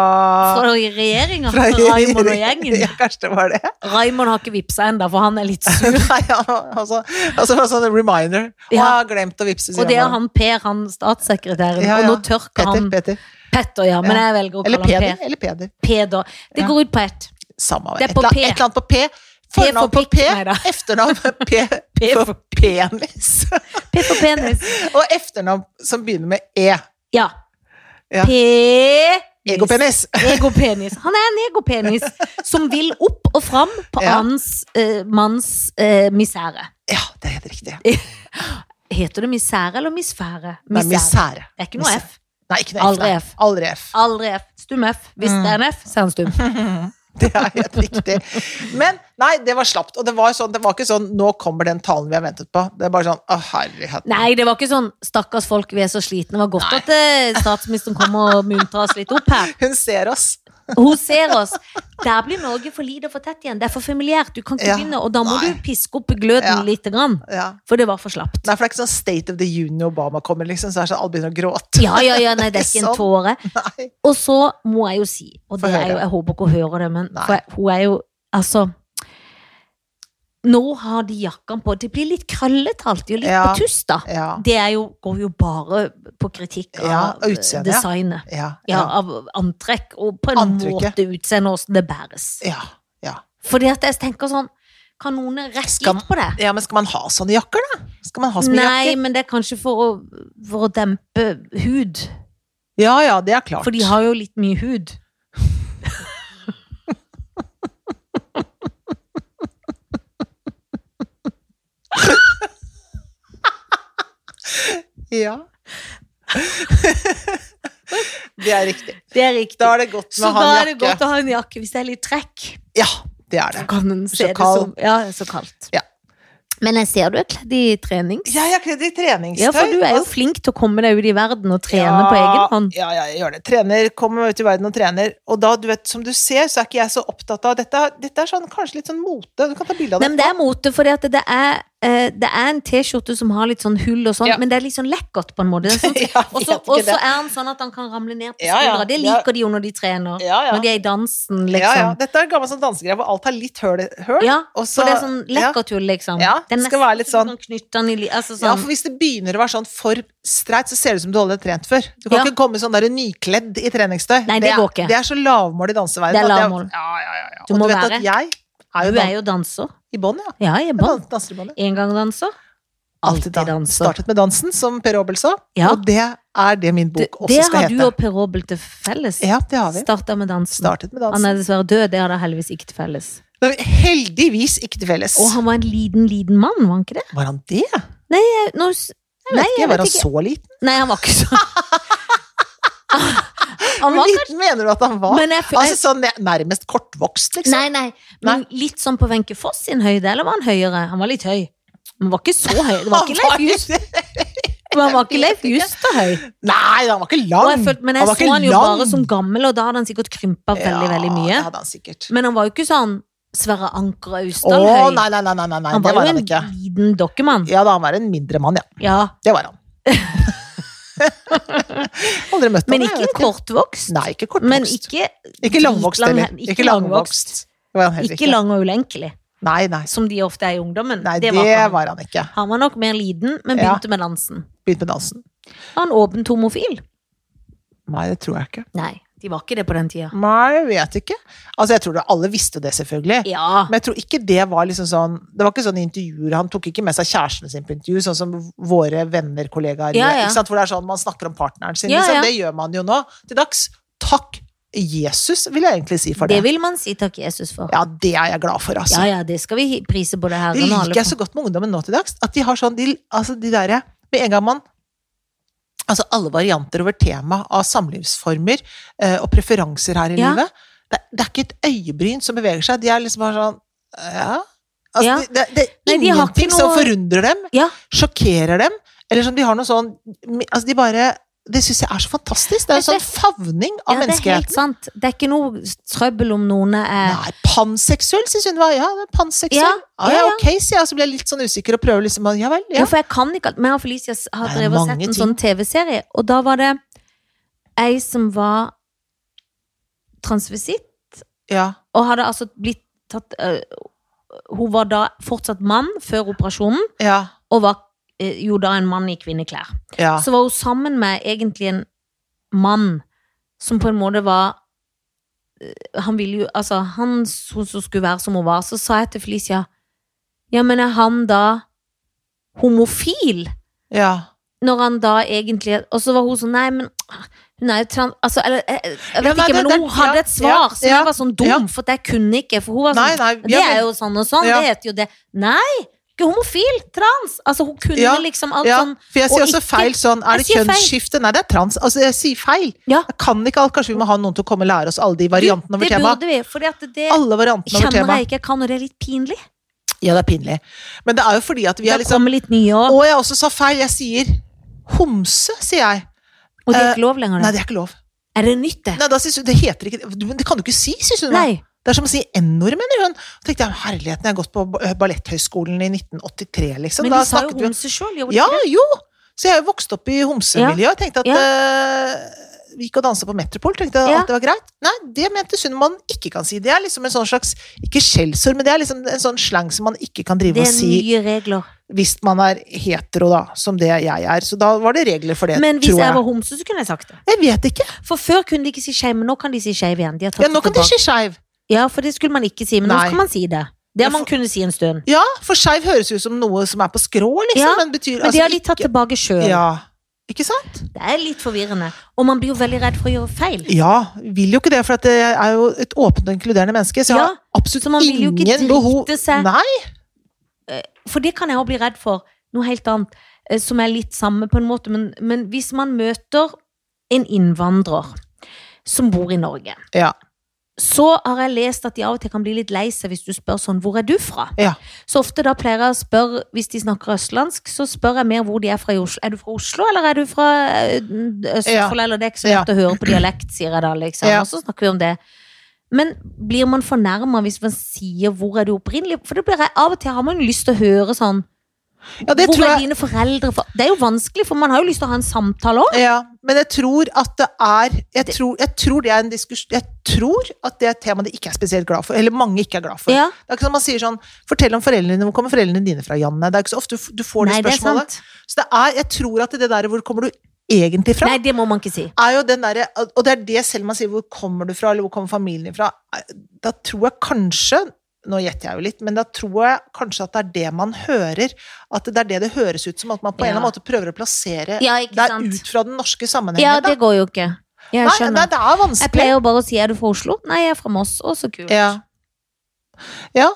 Speaker 2: fra regjeringa, fra
Speaker 1: fra-
Speaker 2: Raymond og gjengen.
Speaker 1: <laughs> Ja, kanskje det var det.
Speaker 2: Raymond har ikke vippsa ennå, for han er litt sur.
Speaker 1: Nei, ja, altså, altså det var sånn reminder. Å, jeg
Speaker 2: Ja.
Speaker 1: har glemt å vippse. <laughs> sier
Speaker 2: Og det er
Speaker 1: han.
Speaker 2: han Per, han statssekretæren.
Speaker 1: Ja,
Speaker 2: Og nå
Speaker 1: ja.
Speaker 2: tørker
Speaker 1: Petter,
Speaker 2: han
Speaker 1: Peter.
Speaker 2: Petter, ja. Men jeg velger å
Speaker 1: Eller
Speaker 2: kalle
Speaker 1: Peder.
Speaker 2: han Per.
Speaker 1: Eller Peder.
Speaker 2: Peder. Det
Speaker 1: Ja.
Speaker 2: går ut på ett.
Speaker 1: Samme
Speaker 2: Det er
Speaker 1: et,
Speaker 2: på
Speaker 1: eller-
Speaker 2: P.
Speaker 1: et eller annet på P. Fornavn
Speaker 2: for
Speaker 1: på
Speaker 2: pikk,
Speaker 1: P,
Speaker 2: neida.
Speaker 1: <laughs> efternavn P,
Speaker 2: <laughs> P
Speaker 1: for penis. <laughs>
Speaker 2: P for penis.
Speaker 1: Og efternavn som begynner med E.
Speaker 2: Ja.
Speaker 1: Ja.
Speaker 2: P
Speaker 1: Egopenis.
Speaker 2: Egopenis. Han er en egopenis som vil opp og fram på
Speaker 1: Ja.
Speaker 2: hans eh, manns eh, misere.
Speaker 1: Ja, det er helt riktig.
Speaker 2: Heter det misere eller misfære?
Speaker 1: Nei,
Speaker 2: Misere.
Speaker 1: misære.
Speaker 2: Det er ikke noe
Speaker 1: Misære.
Speaker 2: F.
Speaker 1: Nei, ikke noe F.
Speaker 2: Aldri
Speaker 1: nei.
Speaker 2: F.
Speaker 1: Aldri F. <laughs>
Speaker 2: Aldri F. Stum F. Hvis
Speaker 1: Mm.
Speaker 2: det er en F, så er han stum.
Speaker 1: Det er helt riktig. Men nei, det var slapt. Og det var, sånn, det var ikke sånn 'nå kommer den talen vi har ventet på'. Det er bare sånn 'å, herlighet'.
Speaker 2: Nei, det var ikke sånn 'stakkars folk, vi er så slitne'. Det var godt
Speaker 1: Nei.
Speaker 2: at eh, statsministeren kom og muntra oss litt opp her.
Speaker 1: Hun ser oss.
Speaker 2: Hun ser oss. Der blir Norge for lite og for tett igjen. Det er for familiært. Du kan ikke
Speaker 1: Ja.
Speaker 2: begynne, og da må
Speaker 1: Nei.
Speaker 2: du piske opp gløden
Speaker 1: Ja.
Speaker 2: lite grann.
Speaker 1: Ja.
Speaker 2: For det var
Speaker 1: <laughs>
Speaker 2: for slapt.
Speaker 1: Nei, for det er ikke sånn State of the Union Obama kommer, liksom. Så er det sånn alle begynner å gråte.
Speaker 2: Ja, ja, ja, nei, det er ikke en
Speaker 1: Sånn.
Speaker 2: tåre.
Speaker 1: <laughs> Nei.
Speaker 2: Og så må jeg jo si, og
Speaker 1: Få
Speaker 2: det er
Speaker 1: høre.
Speaker 2: jo, jeg håper ikke hun hører det, men
Speaker 1: Nei.
Speaker 2: for jeg, hun er jo Altså. Nå har de jakkene på. Det blir litt krøllete alltid, og litt
Speaker 1: Ja.
Speaker 2: på tuss, da.
Speaker 1: Ja.
Speaker 2: Det er jo, går jo bare på kritikk av
Speaker 1: Ja,
Speaker 2: eh,
Speaker 1: utseende, ja.
Speaker 2: designet.
Speaker 1: Ja.
Speaker 2: ja,
Speaker 1: Ja.
Speaker 2: av antrekk, og på en
Speaker 1: Antrekket.
Speaker 2: måte utseende åssen det bæres.
Speaker 1: ja. ja.
Speaker 2: Fordi at jeg tenker sånn Kan noen rekke
Speaker 1: Skal-
Speaker 2: litt på det?
Speaker 1: Ja, men skal man ha sånne jakker, da? Skal man ha så mye
Speaker 2: Nei,
Speaker 1: jakker?
Speaker 2: men det er kanskje for å, for å dempe hud.
Speaker 1: Ja, ja, det er klart.
Speaker 2: For de har jo litt mye hud.
Speaker 1: Ja. <laughs> det er riktig.
Speaker 2: Det er riktig.
Speaker 1: Da er det godt med
Speaker 2: så
Speaker 1: å
Speaker 2: da
Speaker 1: ha en
Speaker 2: er det
Speaker 1: jakke.
Speaker 2: godt å ha en jakke hvis det er litt trekk.
Speaker 1: Ja, det er
Speaker 2: Så
Speaker 1: det.
Speaker 2: kan en se
Speaker 1: Så
Speaker 2: det
Speaker 1: kald.
Speaker 2: som Ja, så kaldt.
Speaker 1: Ja.
Speaker 2: Men jeg ser du er kledd i trenings.
Speaker 1: Ja, jeg er kledd i treningstøy.
Speaker 2: Ja, for du er jo
Speaker 1: Altså,
Speaker 2: flink til å komme deg ut i verden og trene på egen hånd.
Speaker 1: Ja, ja, jeg gjør det. Trener, kommer meg ut i verden og trener. Og da, du vet, som du ser, så er ikke jeg så opptatt av Dette, dette er sånn, kanskje litt sånn mote. Du kan ta bilde av
Speaker 2: Nei,
Speaker 1: det.
Speaker 2: men det er mote, for det, er, eh, det er en T-skjorte som har litt sånn hull og sånn,
Speaker 1: Ja.
Speaker 2: men det er litt sånn lekkert på en måte. Det er sånn-
Speaker 1: <laughs> Ja, jeg
Speaker 2: Og så
Speaker 1: vet ikke
Speaker 2: og så
Speaker 1: det.
Speaker 2: er han sånn at han kan ramle ned på
Speaker 1: Ja, ja.
Speaker 2: skuldra. Det liker de jo når de trener.
Speaker 1: ja, ja.
Speaker 2: Når de er i dansen,
Speaker 1: ja, ja.
Speaker 2: liksom.
Speaker 1: Dette er gammel sånn dansegreie hvor alt har litt høl. høl.
Speaker 2: Ja,
Speaker 1: og
Speaker 2: for det er sånn
Speaker 1: ja.
Speaker 2: lekkert hull, liksom.
Speaker 1: Ja,
Speaker 2: er
Speaker 1: det skal være litt
Speaker 2: nesten så
Speaker 1: sånn-
Speaker 2: du kan knytte den i li- altså
Speaker 1: Ja,
Speaker 2: sånn.
Speaker 1: for hvis det begynner å være sånn for streit, så ser det ut som du aldri har trent før. Du kan
Speaker 2: Ja.
Speaker 1: ikke komme sånn der nykledd i treningstøy.
Speaker 2: Nei, det
Speaker 1: er,
Speaker 2: går ikke.
Speaker 1: Det er så lavmål i danseverden.
Speaker 2: Det er
Speaker 1: at
Speaker 2: lavmål.
Speaker 1: Ja, ja, ja, ja.
Speaker 2: Du
Speaker 1: Og
Speaker 2: må
Speaker 1: du vet
Speaker 2: være.
Speaker 1: at jeg er jo,
Speaker 2: Du
Speaker 1: dan
Speaker 2: er jo danser.
Speaker 1: i bånn, ja.
Speaker 2: Ja, jeg er
Speaker 1: Jeg
Speaker 2: bare
Speaker 1: dan- danser i bånn, ja.
Speaker 2: engangsdanser. Alltid
Speaker 1: dan-
Speaker 2: danser.
Speaker 1: Startet med dansen, som Per Obel sa.
Speaker 2: Ja.
Speaker 1: Og det er det min
Speaker 2: Det,
Speaker 1: bok også
Speaker 2: det
Speaker 1: skal
Speaker 2: har
Speaker 1: hete.
Speaker 2: du og Per Robel til felles.
Speaker 1: Ja, det har vi.
Speaker 2: Starta med dansen.
Speaker 1: Startet med dansen.
Speaker 2: Han er dessverre død, det har de heldigvis ikke til felles.
Speaker 1: Det er heldigvis ikke til felles.
Speaker 2: Og han var en liten, liten mann, var han ikke det?
Speaker 1: Var han det? Jeg
Speaker 2: Eh, Nå, s-
Speaker 1: vet
Speaker 2: nei,
Speaker 1: ikke,
Speaker 2: jeg
Speaker 1: var
Speaker 2: vet
Speaker 1: han
Speaker 2: ikke.
Speaker 1: så liten?
Speaker 2: Nei, han var
Speaker 1: <laughs>
Speaker 2: ikke så Han
Speaker 1: Hvor
Speaker 2: var kanskje
Speaker 1: liten mener du at han var?
Speaker 2: Men jeg, f-
Speaker 1: Altså sånn nærmest kortvokst,
Speaker 2: jeg,
Speaker 1: liksom.
Speaker 2: Nei, nei. Men litt sånn på Wenche Foss sin høyde, eller var han høyere? Han var litt høy. Men var ikke så høy. Det var ikke Leif Just- men han var ikke
Speaker 1: <laughs>
Speaker 2: Leif Justad høy.
Speaker 1: Nei, han var ikke lang!
Speaker 2: Og jeg følte, men jeg
Speaker 1: var
Speaker 2: så
Speaker 1: ikke
Speaker 2: han jo
Speaker 1: lang.
Speaker 2: bare som gammel, og da hadde han sikkert krympa veldig, veldig mye.
Speaker 1: Ja, det hadde han sikkert.
Speaker 2: Men han var jo ikke sånn Sverre Anker
Speaker 1: Å,
Speaker 2: Austdal
Speaker 1: nei, nei, nei, nei, nei, nei.
Speaker 2: Han
Speaker 1: det
Speaker 2: var
Speaker 1: var
Speaker 2: jo
Speaker 1: han
Speaker 2: en
Speaker 1: ikke.
Speaker 2: liten dokkemann.
Speaker 1: Ja, da han var en mindre mann, ja.
Speaker 2: Ja.
Speaker 1: Det var han.
Speaker 2: <laughs>
Speaker 1: Aldri møtt
Speaker 2: Men
Speaker 1: han, jeg
Speaker 2: ikke
Speaker 1: vet
Speaker 2: en kortvokst.
Speaker 1: Nei, ikke kortvokst.
Speaker 2: Men ikke
Speaker 1: Ikke langvokst
Speaker 2: dritlang-
Speaker 1: heller. Ikke langvokst. Det var han heller
Speaker 2: Ikke
Speaker 1: ikke.
Speaker 2: lang og ulenkelig,
Speaker 1: Nei, nei.
Speaker 2: som de ofte er i ungdommen.
Speaker 1: nei
Speaker 2: det var ikke han.
Speaker 1: han ikke.
Speaker 2: Han var nok mer liten, men
Speaker 1: Ja.
Speaker 2: begynte med dansen.
Speaker 1: Begynt med dansen.
Speaker 2: Var han åpent homofil?
Speaker 1: Nei, det tror jeg ikke.
Speaker 2: Nei, de var ikke det på den tida.
Speaker 1: Nei, jeg vet ikke. Altså, jeg tror det, alle visste det, selvfølgelig.
Speaker 2: Ja.
Speaker 1: Men jeg tror ikke det var liksom sånn Det var ikke sånn i intervjuer Han tok ikke med seg kjæresten sin på intervju, sånn som våre venner, kollegaer
Speaker 2: Ja,
Speaker 1: gjør,
Speaker 2: ja.
Speaker 1: Ikke sant? Hvor det er sånn man snakker om partneren sin.
Speaker 2: Ja,
Speaker 1: liksom.
Speaker 2: ja.
Speaker 1: Det gjør man jo nå til dags. Takk Jesus, vil jeg egentlig si for det.
Speaker 2: det vil man si takk Jesus for.
Speaker 1: Ja, det er jeg glad for, altså.
Speaker 2: Ja, ja, det skal vi prise både
Speaker 1: Det
Speaker 2: herren og alle
Speaker 1: liker jeg så godt med ungdommen nå til dags. At de har sånn de, altså de derre Med en gang man Altså alle varianter over tema av samlivsformer eh, og preferanser her i
Speaker 2: Ja.
Speaker 1: livet. Det, det er ikke et øyebryn som beveger seg. De er liksom bare sånn Ja. Altså,
Speaker 2: Ja.
Speaker 1: Det, det, det
Speaker 2: Nei,
Speaker 1: er
Speaker 2: de har
Speaker 1: ingenting
Speaker 2: ikke
Speaker 1: som
Speaker 2: noe-
Speaker 1: forundrer dem,
Speaker 2: Ja.
Speaker 1: sjokkerer dem, eller som de har noe sånn Altså, de bare Det syns jeg er så fantastisk. Det er en
Speaker 2: Men
Speaker 1: sånn favning
Speaker 2: Ja,
Speaker 1: av
Speaker 2: det er helt
Speaker 1: menneskeheten.
Speaker 2: sant. Det er ikke noe trøbbel om noen er
Speaker 1: Nei, panseksuell syns hun var. Ja, det er panseksuell.
Speaker 2: Ja,
Speaker 1: Ja, ja,
Speaker 2: ja, ja.
Speaker 1: ok, sier jeg. Så blir jeg litt sånn usikker og prøver liksom å Ja vel,
Speaker 2: Ja,
Speaker 1: ja.
Speaker 2: for jeg kan ikke alt. Vi og Felicia s- har
Speaker 1: Nei, det er
Speaker 2: drevet og sett
Speaker 1: mange
Speaker 2: en
Speaker 1: ting.
Speaker 2: sånn TV-serie, og da var det ei som var transvestitt,
Speaker 1: ja.
Speaker 2: og hadde altså blitt tatt øh, Hun var da fortsatt mann før operasjonen,
Speaker 1: Ja.
Speaker 2: og var øh, jo da en mann i kvinneklær.
Speaker 1: ja.
Speaker 2: Så var hun sammen med egentlig en mann som på en måte var øh, Han ville jo Altså, han s- hun som skulle være som hun var, så sa jeg til Felicia Ja, men er han da homofil?
Speaker 1: ja.
Speaker 2: når han da egentlig Og så var hun sånn Nei, men hun er jo trans... Altså, eller jeg, jeg vet
Speaker 1: Ja, nei,
Speaker 2: ikke,
Speaker 1: det-
Speaker 2: men hun
Speaker 1: det-
Speaker 2: hadde
Speaker 1: ja,
Speaker 2: et svar
Speaker 1: ja,
Speaker 2: som
Speaker 1: ja,
Speaker 2: jeg var sånn dum,
Speaker 1: ja.
Speaker 2: for at jeg kunne ikke. For hun var
Speaker 1: Nei,
Speaker 2: sånn
Speaker 1: nei.
Speaker 2: Det
Speaker 1: Ja,
Speaker 2: er
Speaker 1: men,
Speaker 2: jo sånn og sånn.
Speaker 1: Ja.
Speaker 2: Det heter jo det. Nei! Ikke homofil! Trans! Altså, hun kunne
Speaker 1: Ja,
Speaker 2: liksom alt
Speaker 1: ja,
Speaker 2: sånn
Speaker 1: for jeg sier
Speaker 2: og
Speaker 1: også
Speaker 2: ikke-
Speaker 1: feil sånn Er det
Speaker 2: Jeg sier feil.
Speaker 1: kjønnsskifte? Nei, det er trans. Altså, jeg sier feil.
Speaker 2: Ja.
Speaker 1: Jeg kan ikke alt. Kanskje vi må ha noen til å komme og lære oss alle de variantene over
Speaker 2: Det
Speaker 1: temaet.
Speaker 2: burde vi, for det, det
Speaker 1: Alle variantene over
Speaker 2: kjenner
Speaker 1: temaet.
Speaker 2: jeg ikke jeg kan, og det er litt pinlig.
Speaker 1: Ja, det er pinlig. Men det er jo fordi at vi
Speaker 2: Det
Speaker 1: er liksom
Speaker 2: kommer litt nye
Speaker 1: Å,
Speaker 2: år,
Speaker 1: jeg også sa feil. Jeg sier homse, sier jeg.
Speaker 2: og det er ikke lov lenger.
Speaker 1: eh, Nei,
Speaker 2: Det.
Speaker 1: det er ikke lov.
Speaker 2: Er det nytt, det?
Speaker 1: Nei, da synes hun, Det heter ikke du- Det kan du ikke si, syns hun. da.
Speaker 2: Nei.
Speaker 1: Det er som å si n-ord, mener hun. Da tenkte jeg, herligheten, jeg har gått på ba- Balletthøgskolen i 1983, liksom.
Speaker 2: Men
Speaker 1: da
Speaker 2: de sa jo
Speaker 1: snakket vi-
Speaker 2: homse sjøl, gjorde de
Speaker 1: Ja,
Speaker 2: ikke det?
Speaker 1: jo! Så jeg er jo vokst opp i homsemiljøet. Jeg tenkte at
Speaker 2: Ja.
Speaker 1: eh, Vi gikk og dansa på Metropol, tenkte jeg
Speaker 2: Ja.
Speaker 1: at det var greit. Nei, det mente Sundman ikke kan si. Det er liksom en sånn slags Ikke skjellsord, men det er liksom en sånn slang som man ikke kan drive
Speaker 2: Det
Speaker 1: og
Speaker 2: er
Speaker 1: si
Speaker 2: nye regler.
Speaker 1: hvis man er hetero, da, som det jeg er. Så da var det regler for det,
Speaker 2: Men hvis
Speaker 1: tror
Speaker 2: jeg
Speaker 1: jeg.
Speaker 2: var homse, så kunne jeg sagt det.
Speaker 1: Jeg vet ikke.
Speaker 2: For før kunne de ikke si skeiv, men nå kan de si skeiv igjen. De har tatt
Speaker 1: Ja, nå
Speaker 2: det
Speaker 1: kan de
Speaker 2: tilbake.
Speaker 1: si skeiv.
Speaker 2: Ja, for det skulle man ikke si, men nå
Speaker 1: Nei.
Speaker 2: kan man si det. Det
Speaker 1: Ja,
Speaker 2: har man
Speaker 1: for-
Speaker 2: kunnet si en stund.
Speaker 1: Ja, for skeiv høres ut som noe som er på skrå, liksom.
Speaker 2: Ja,
Speaker 1: men betyr
Speaker 2: Men de har de tatt
Speaker 1: ikke-
Speaker 2: tilbake sjøl.
Speaker 1: Ja. Ikke sant?
Speaker 2: Det er litt forvirrende. Og man blir jo veldig redd for å gjøre feil.
Speaker 1: Ja, vil jo ikke det, for at jeg er jo et åpent og inkluderende menneske. Så jeg
Speaker 2: Ja,
Speaker 1: har absolutt
Speaker 2: så man vil jo
Speaker 1: ingen
Speaker 2: ikke drite
Speaker 1: behov
Speaker 2: seg-
Speaker 1: Nei,
Speaker 2: For det kan jeg òg bli redd for. Noe helt annet, eh, som er litt samme på en måte. Men, men hvis man møter en innvandrer som bor i Norge,
Speaker 1: Ja.
Speaker 2: så har jeg lest at de av og til kan bli litt lei seg hvis du spør sånn 'Hvor er du fra?'
Speaker 1: Ja.
Speaker 2: Så ofte da pleier jeg å spørre, hvis de snakker østlandsk, så spør jeg mer hvor de er fra i Oslo. Er du fra Oslo, eller er du fra eh, Østfold, eller det er ikke så
Speaker 1: Ja.
Speaker 2: lett å høre på dialekt, sier jeg da, liksom.
Speaker 1: Ja.
Speaker 2: Og så snakker vi om det. Men blir man fornærma hvis man sier 'hvor er du opprinnelig'? For det blir jeg, av og til har man jo lyst til å høre sånn
Speaker 1: ja det
Speaker 2: 'Hvor
Speaker 1: tror
Speaker 2: er
Speaker 1: jeg
Speaker 2: dine foreldre fra?' Det er jo vanskelig, for man har jo lyst til å ha en samtale òg.
Speaker 1: ja, Men jeg tror at det er jeg
Speaker 2: Det-
Speaker 1: tror, jeg tror det er en diskusjon Jeg tror at det er et tema de ikke er spesielt glad for, eller mange ikke er glad for.
Speaker 2: Ja.
Speaker 1: Det er ikke som man sier sånn Fortell om foreldrene dine. Hvor kommer foreldrene dine fra, Janne? Det er ikke så ofte du f- du får
Speaker 2: Nei,
Speaker 1: det
Speaker 2: det er
Speaker 1: spørsmålet.
Speaker 2: sant.
Speaker 1: så det er, jeg tror at det der hvor kommer du egentlig fra,
Speaker 2: Nei, det må man ikke si.
Speaker 1: er jo den derre Og det er det selv om man sier hvor kommer du fra, eller hvor kommer familien din fra, da tror jeg kanskje nå gjetter jeg jo litt, men da tror jeg kanskje at det er det man hører. At det er det det høres ut som, at man på en
Speaker 2: Ja.
Speaker 1: eller annen måte prøver å plassere
Speaker 2: Ja, ikke
Speaker 1: deg
Speaker 2: sant.
Speaker 1: ut fra den norske sammenhengen.
Speaker 2: Ja,
Speaker 1: da.
Speaker 2: det går jo ikke. Ja,
Speaker 1: nei,
Speaker 2: Jeg
Speaker 1: nei,
Speaker 2: skjønner.
Speaker 1: det er
Speaker 2: Jeg
Speaker 1: vanskelig.
Speaker 2: pleier jo bare å si 'er du fra Oslo'? Nei, jeg er fra Moss. Å, så kult.
Speaker 1: Ja. ja.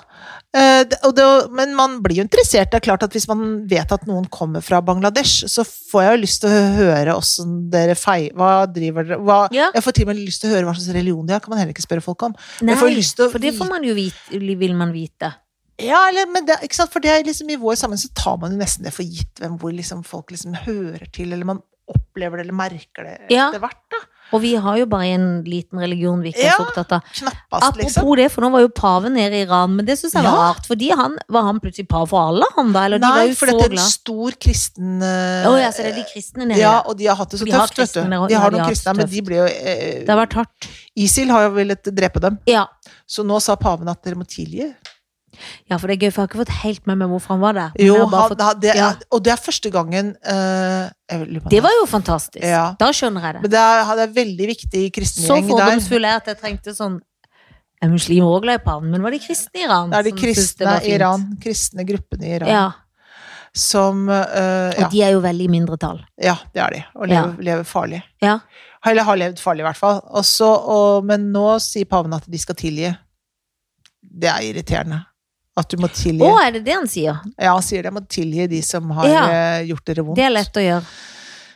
Speaker 1: Eh, det- og det, men man blir jo interessert. Det er klart at Hvis man vet at noen kommer fra Bangladesh, så får jeg jo lyst til å høre åssen dere fei... Hva driver dere hva,
Speaker 2: Ja.
Speaker 1: Jeg får til og med lyst til å høre hva slags religion de har. kan man heller ikke spørre folk om.
Speaker 2: Nei,
Speaker 1: Jeg får lyst til å
Speaker 2: for det får
Speaker 1: vite-
Speaker 2: man jo vite, vil man vite.
Speaker 1: Ja, eller, men det, ikke sant? For det er liksom, I vår sammenheng så tar man jo nesten det for gitt hvem hvor liksom folk liksom hører til, eller man opplever det eller merker det
Speaker 2: Ja.
Speaker 1: etter hvert. da
Speaker 2: Og vi har jo bare en liten religion vi ikke er
Speaker 1: Ja,
Speaker 2: så opptatt av.
Speaker 1: Knappast,
Speaker 2: Apropos
Speaker 1: liksom.
Speaker 2: det, for nå var jo paven nede i Iran, men det syns jeg var
Speaker 1: Ja.
Speaker 2: rart. Fordi han, var han plutselig pave for alle, han da? Eller de var
Speaker 1: Nei,
Speaker 2: jo
Speaker 1: for
Speaker 2: så
Speaker 1: dette er en
Speaker 2: glad.
Speaker 1: stor kristen eh,
Speaker 2: Å ja, så det er de kristne nede.
Speaker 1: Ja, og de har hatt det så
Speaker 2: Vi har
Speaker 1: tøft, vet du.
Speaker 2: kristne der også.
Speaker 1: De
Speaker 2: Ja,
Speaker 1: har
Speaker 2: de
Speaker 1: noen
Speaker 2: har hatt
Speaker 1: kristne,
Speaker 2: det
Speaker 1: men
Speaker 2: tøft.
Speaker 1: de ble jo
Speaker 2: Det har
Speaker 1: eh,
Speaker 2: vært hardt.
Speaker 1: ISIL har jo villet drepe dem.
Speaker 2: Ja.
Speaker 1: Så nå sa paven at dere må tilgi.
Speaker 2: ja, for det er gøy, for jeg har ikke fått helt med meg hvorfor han var der. Men
Speaker 1: Jo,
Speaker 2: jeg har bare
Speaker 1: han,
Speaker 2: fått-
Speaker 1: han, det, er-
Speaker 2: ja.
Speaker 1: Og det er første gangen eh, jeg lurer på om
Speaker 2: Det var jo fantastisk.
Speaker 1: Ja.
Speaker 2: Da skjønner jeg det.
Speaker 1: Men det er, han er veldig viktig i kristen
Speaker 2: Så
Speaker 1: gjeng der.
Speaker 2: fordomsfull er jeg at jeg trengte sånn Er muslimer òg glad i paven? Men var de kristne i Iran?
Speaker 1: Det er de
Speaker 2: som syntes det
Speaker 1: kristne
Speaker 2: var
Speaker 1: i
Speaker 2: fint?
Speaker 1: Iran, kristne gruppene i Iran,
Speaker 2: Ja,
Speaker 1: som eh,
Speaker 2: og
Speaker 1: ja,
Speaker 2: de er jo veldig i mindretall.
Speaker 1: ja, det er de. Og lever, lever farlig.
Speaker 2: Ja.
Speaker 1: Eller har levd farlig, i hvert fall. Og så- og, men nå sier paven at de skal tilgi. Det er irriterende. At du må tilgi
Speaker 2: Å, er det det han sier?
Speaker 1: Ja, han sier det. Jeg må tilgi de som har
Speaker 2: Ja.
Speaker 1: eh, gjort dere vondt.
Speaker 2: Det er lett å gjøre.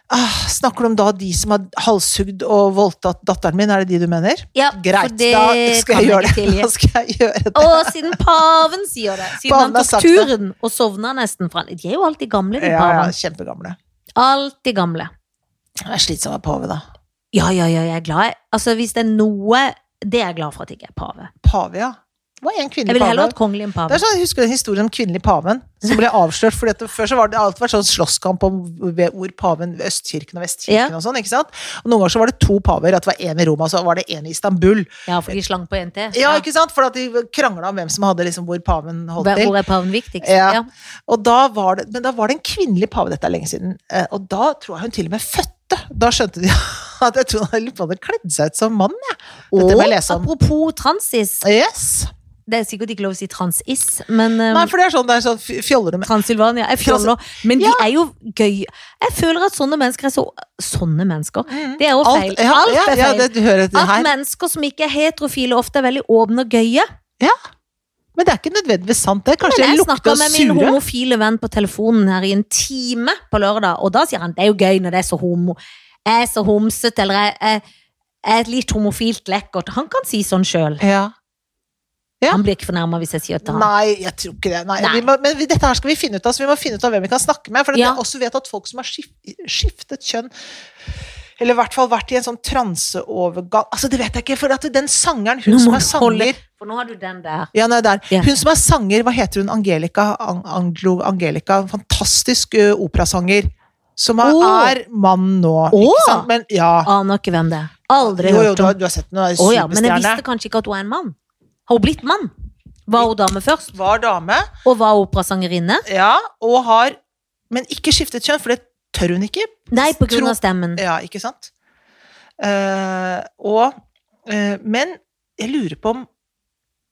Speaker 1: Ah, snakker du om da de som har halshugd og voldtatt datteren min? Er det de du mener?
Speaker 2: Ja,
Speaker 1: Greit,
Speaker 2: for det
Speaker 1: da skal
Speaker 2: kan
Speaker 1: jeg gjøre det.
Speaker 2: ikke
Speaker 1: Da <laughs>
Speaker 2: tilgi.
Speaker 1: skal jeg gjøre det.
Speaker 2: Og siden paven sier det. Siden
Speaker 1: Paven har
Speaker 2: han tok
Speaker 1: sagt det.
Speaker 2: turen og sovna nesten fra De er jo alltid gamle, de
Speaker 1: Ja, ja,
Speaker 2: pavene.
Speaker 1: kjempegamle.
Speaker 2: Alltid gamle.
Speaker 1: Jeg er slitsom av pave, da.
Speaker 2: Ja, ja, ja, jeg er glad. jeg- Altså, hvis det er noe Det er jeg glad for at jeg ikke er pave.
Speaker 1: Pave, ja. Det var en
Speaker 2: Jeg
Speaker 1: kvinnelig
Speaker 2: ville heller
Speaker 1: pave.
Speaker 2: hatt kongelig enn
Speaker 1: Det
Speaker 2: pave.
Speaker 1: er sånn, jeg husker den historien om kvinnelig paven som ble avslørt. fordi at det- Før så var det alltid vært sånn slåsskamp om ved- hvor paven ved Østkirken og Vestkirken
Speaker 2: Ja.
Speaker 1: og sånn. ikke sant? Og Noen ganger så var det to paver. at Det var én i Roma og så var det én i Istanbul.
Speaker 2: Ja, for de slang på en til.
Speaker 1: Ja, ikke sant? For at de krangla om hvem som hadde liksom hvor paven holdt til.
Speaker 2: Hvor er paven viktigst?
Speaker 1: Ja.
Speaker 2: Ja.
Speaker 1: Og da var det, men da var det en kvinnelig pave, dette er lenge siden. Eh, Og da tror jeg hun til og med fødte. Da skjønte de <laughs> at jeg tror hun hadde kledd seg ut som mann. jeg. Dette må jeg lese om.
Speaker 2: apropos transis.
Speaker 1: Yes.
Speaker 2: Det er sikkert ikke lov å si transis, men um,
Speaker 1: Nei, for det er sånn, det er sånn fj- fjoller du med.
Speaker 2: Transylvania er fjoller. Men de
Speaker 1: Ja.
Speaker 2: er jo gøy. Jeg føler at sånne mennesker er så Sånne mennesker? Det er jo feil.
Speaker 1: ja,
Speaker 2: Alt
Speaker 1: ja,
Speaker 2: er feil.
Speaker 1: Ja, det, du hører til
Speaker 2: at
Speaker 1: her. Men,
Speaker 2: mennesker som ikke er heterofile, ofte er veldig åpne og gøye.
Speaker 1: det er ikke nødvendigvis sant, det. Kanskje de
Speaker 2: Men jeg
Speaker 1: lukter
Speaker 2: snakka
Speaker 1: og
Speaker 2: med min
Speaker 1: sure.
Speaker 2: homofile venn på telefonen her i en time på lørdag, og da sier han det er jo gøy når det er så homo. Jeg er så homsete, eller jeg, jeg, jeg er litt homofilt lekkert. Han kan si sånn sjøl.
Speaker 1: Ja. Ja.
Speaker 2: Han blir ikke fornærma hvis jeg sier det til han.
Speaker 1: Nei, jeg tror ikke det. Nei,
Speaker 2: Nei.
Speaker 1: Vi må, men vi, dette her skal vi finne ut av, så vi må finne ut av hvem vi kan snakke med. For at
Speaker 2: Ja.
Speaker 1: jeg også vet at folk som har skif skiftet kjønn eller i hvert fall vært i en sånn transeovergang Altså, det vet jeg ikke, for at den sangeren, hun
Speaker 2: Nå må
Speaker 1: som er
Speaker 2: du holde-
Speaker 1: sanger
Speaker 2: For nå har du den der.
Speaker 1: Ja, nei, der.
Speaker 2: Ja.
Speaker 1: Hun som er sanger, hva heter hun? Angelica? An Anglo Angelica en fantastisk ø, operasanger. Som er,
Speaker 2: Åh.
Speaker 1: er mann nå.
Speaker 2: Åh.
Speaker 1: Ikke sant? Men ja.
Speaker 2: Aner ikke hvem det er. Aldri
Speaker 1: jo, jo,
Speaker 2: hørt
Speaker 1: du,
Speaker 2: om.
Speaker 1: har, du har sett henne, hun er
Speaker 2: Å ja, men jeg
Speaker 1: superstjerne.
Speaker 2: visste kanskje ikke at hun er en mann. Har hun blitt mann? Var hun dame først?
Speaker 1: Var dame,
Speaker 2: Og var operasangerinne?
Speaker 1: ja, og har Men ikke skiftet kjønn, for det tør hun ikke.
Speaker 2: Nei, på grunn
Speaker 1: Tro-
Speaker 2: av stemmen.
Speaker 1: Ja, ikke sant? Eh, og eh, Men jeg lurer på om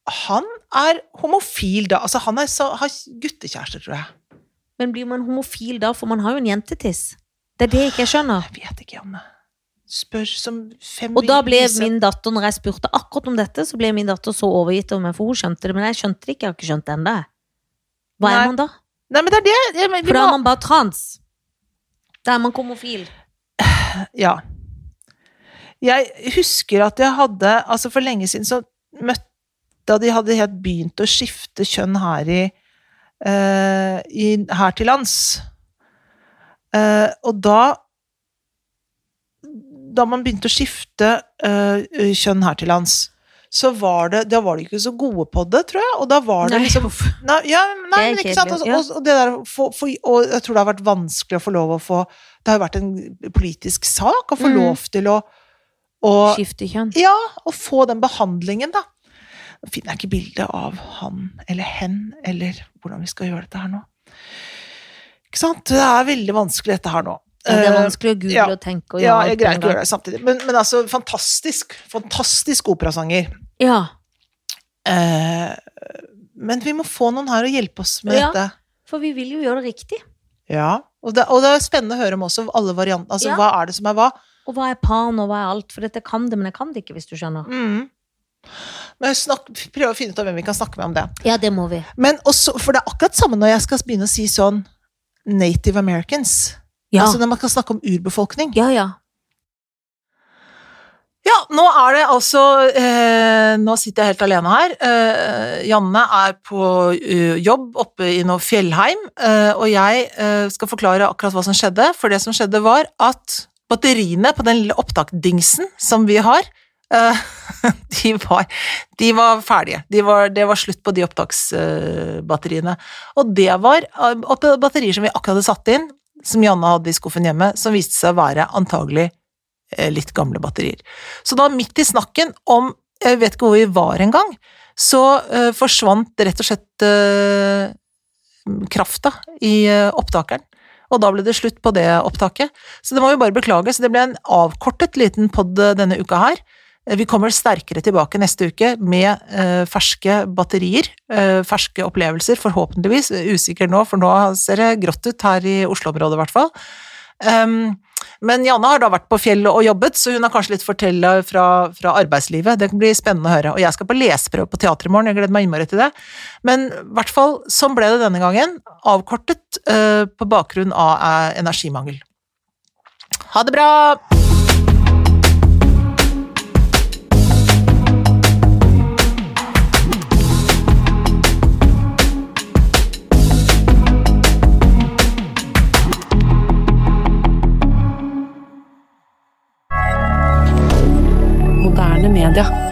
Speaker 1: han er homofil, da. Altså, han er, så, har guttekjæreste, tror jeg.
Speaker 2: Men blir man homofil da, for man har jo en jentetiss? Det er det ikke jeg skjønner.
Speaker 1: Jeg vet ikke, Janne. Spør som fem
Speaker 2: Og da ble
Speaker 1: vise.
Speaker 2: min datter, når jeg spurte akkurat om dette, så ble min datter så overgitt over meg, for hun skjønte det, men jeg skjønte det ikke, jeg har ikke skjønt det ennå. Hva
Speaker 1: Nei.
Speaker 2: er man da?
Speaker 1: Nei, men det er det! Jeg, men, vi
Speaker 2: For da
Speaker 1: må-
Speaker 2: er man bare trans. Da er man homofil.
Speaker 1: Ja. Jeg husker at jeg hadde Altså, for lenge siden så møtte Da de hadde helt begynt å skifte kjønn her i, eh, i Her til lands. Eh, og da Da man begynte å skifte eh, kjønn her til lands, så var det Da var de ikke så gode på det, tror jeg. Og da var det
Speaker 2: Nei, <laughs>
Speaker 1: liksom Nei, ja, nei
Speaker 2: Det er
Speaker 1: men ikke sant? altså,
Speaker 2: kjedelig,
Speaker 1: Og, og, og, det der, å få- få- og jeg tror det har vært vanskelig å få lov å få Det har jo vært en politisk sak å få
Speaker 2: Mm.
Speaker 1: lov til å, å
Speaker 2: Skifte kjønn.
Speaker 1: Ja, å få den behandlingen, da. Nå finner jeg ikke bildet av han eller hen, eller hvordan vi skal gjøre dette her nå. Ikke sant? Det er veldig vanskelig, dette her nå.
Speaker 2: Ja, det er
Speaker 1: Eh,
Speaker 2: vanskelig å google
Speaker 1: ja.
Speaker 2: og tenke og
Speaker 1: ja,
Speaker 2: alt
Speaker 1: jeg
Speaker 2: på en
Speaker 1: greier ikke å
Speaker 2: gang.
Speaker 1: gjøre det samtidig. Men, men altså, fantastisk. Fantastisk operasanger.
Speaker 2: Ja.
Speaker 1: Eh, men vi må få noen her og hjelpe oss med
Speaker 2: Ja.
Speaker 1: dette.
Speaker 2: For vi vil jo gjøre det riktig.
Speaker 1: Ja, og det, og det er spennende å høre om også alle variantene. Altså,
Speaker 2: Ja.
Speaker 1: Hva er det som er hva?
Speaker 2: Og hva er pan, og hva er alt? For dette kan det, men jeg kan det ikke, hvis du skjønner.
Speaker 1: Mm. Men snakk, prøv å finne ut av hvem vi kan snakke med om det.
Speaker 2: Ja, det må vi.
Speaker 1: Men også, for det er akkurat samme når jeg skal begynne å si sånn Native Americans.
Speaker 2: Ja,
Speaker 1: Altså når man kan snakke om urbefolkning.
Speaker 2: ja. ja.
Speaker 1: Ja, nå er det altså eh, Nå sitter jeg helt alene her. Eh, Janne er på eh, jobb oppe i noe fjellheim, eh, og jeg eh, skal forklare akkurat hva som skjedde. For det som skjedde, var at batteriene på den lille opptakdingsen som vi har, eh, <laughs> de, var, de var ferdige. De var, det var slutt på de opptaksbatteriene. Og det var eh, opp- batterier som vi akkurat hadde satt inn, som Janne hadde i skuffen hjemme, som viste seg å være antagelig eh, litt gamle batterier. Så da midt i snakken om Jeg vet ikke hvor vi var engang, så eh, forsvant rett og slett eh, krafta i eh, opptakeren. Og da ble det slutt på det opptaket. Så det må vi bare beklage. Så det ble en avkortet liten pod denne uka her. Eh, Vi kommer sterkere tilbake neste uke med eh, ferske batterier, eh, ferske opplevelser, forhåpentligvis. eh, Usikker nå, for nå ser det grått ut her i Oslo-området, i hvert fall. Ehm, men Janne har da vært på fjellet og jobbet, så hun har kanskje litt å fortelle fra, fra arbeidslivet. Det kan bli spennende å høre. Og jeg skal på leseprøve på teater i morgen, jeg gleder meg innmari til det. Men i hvert fall, sånn ble det denne gangen. Avkortet eh, på bakgrunn av eh, energimangel. Ha det bra!
Speaker 3: Moderne media.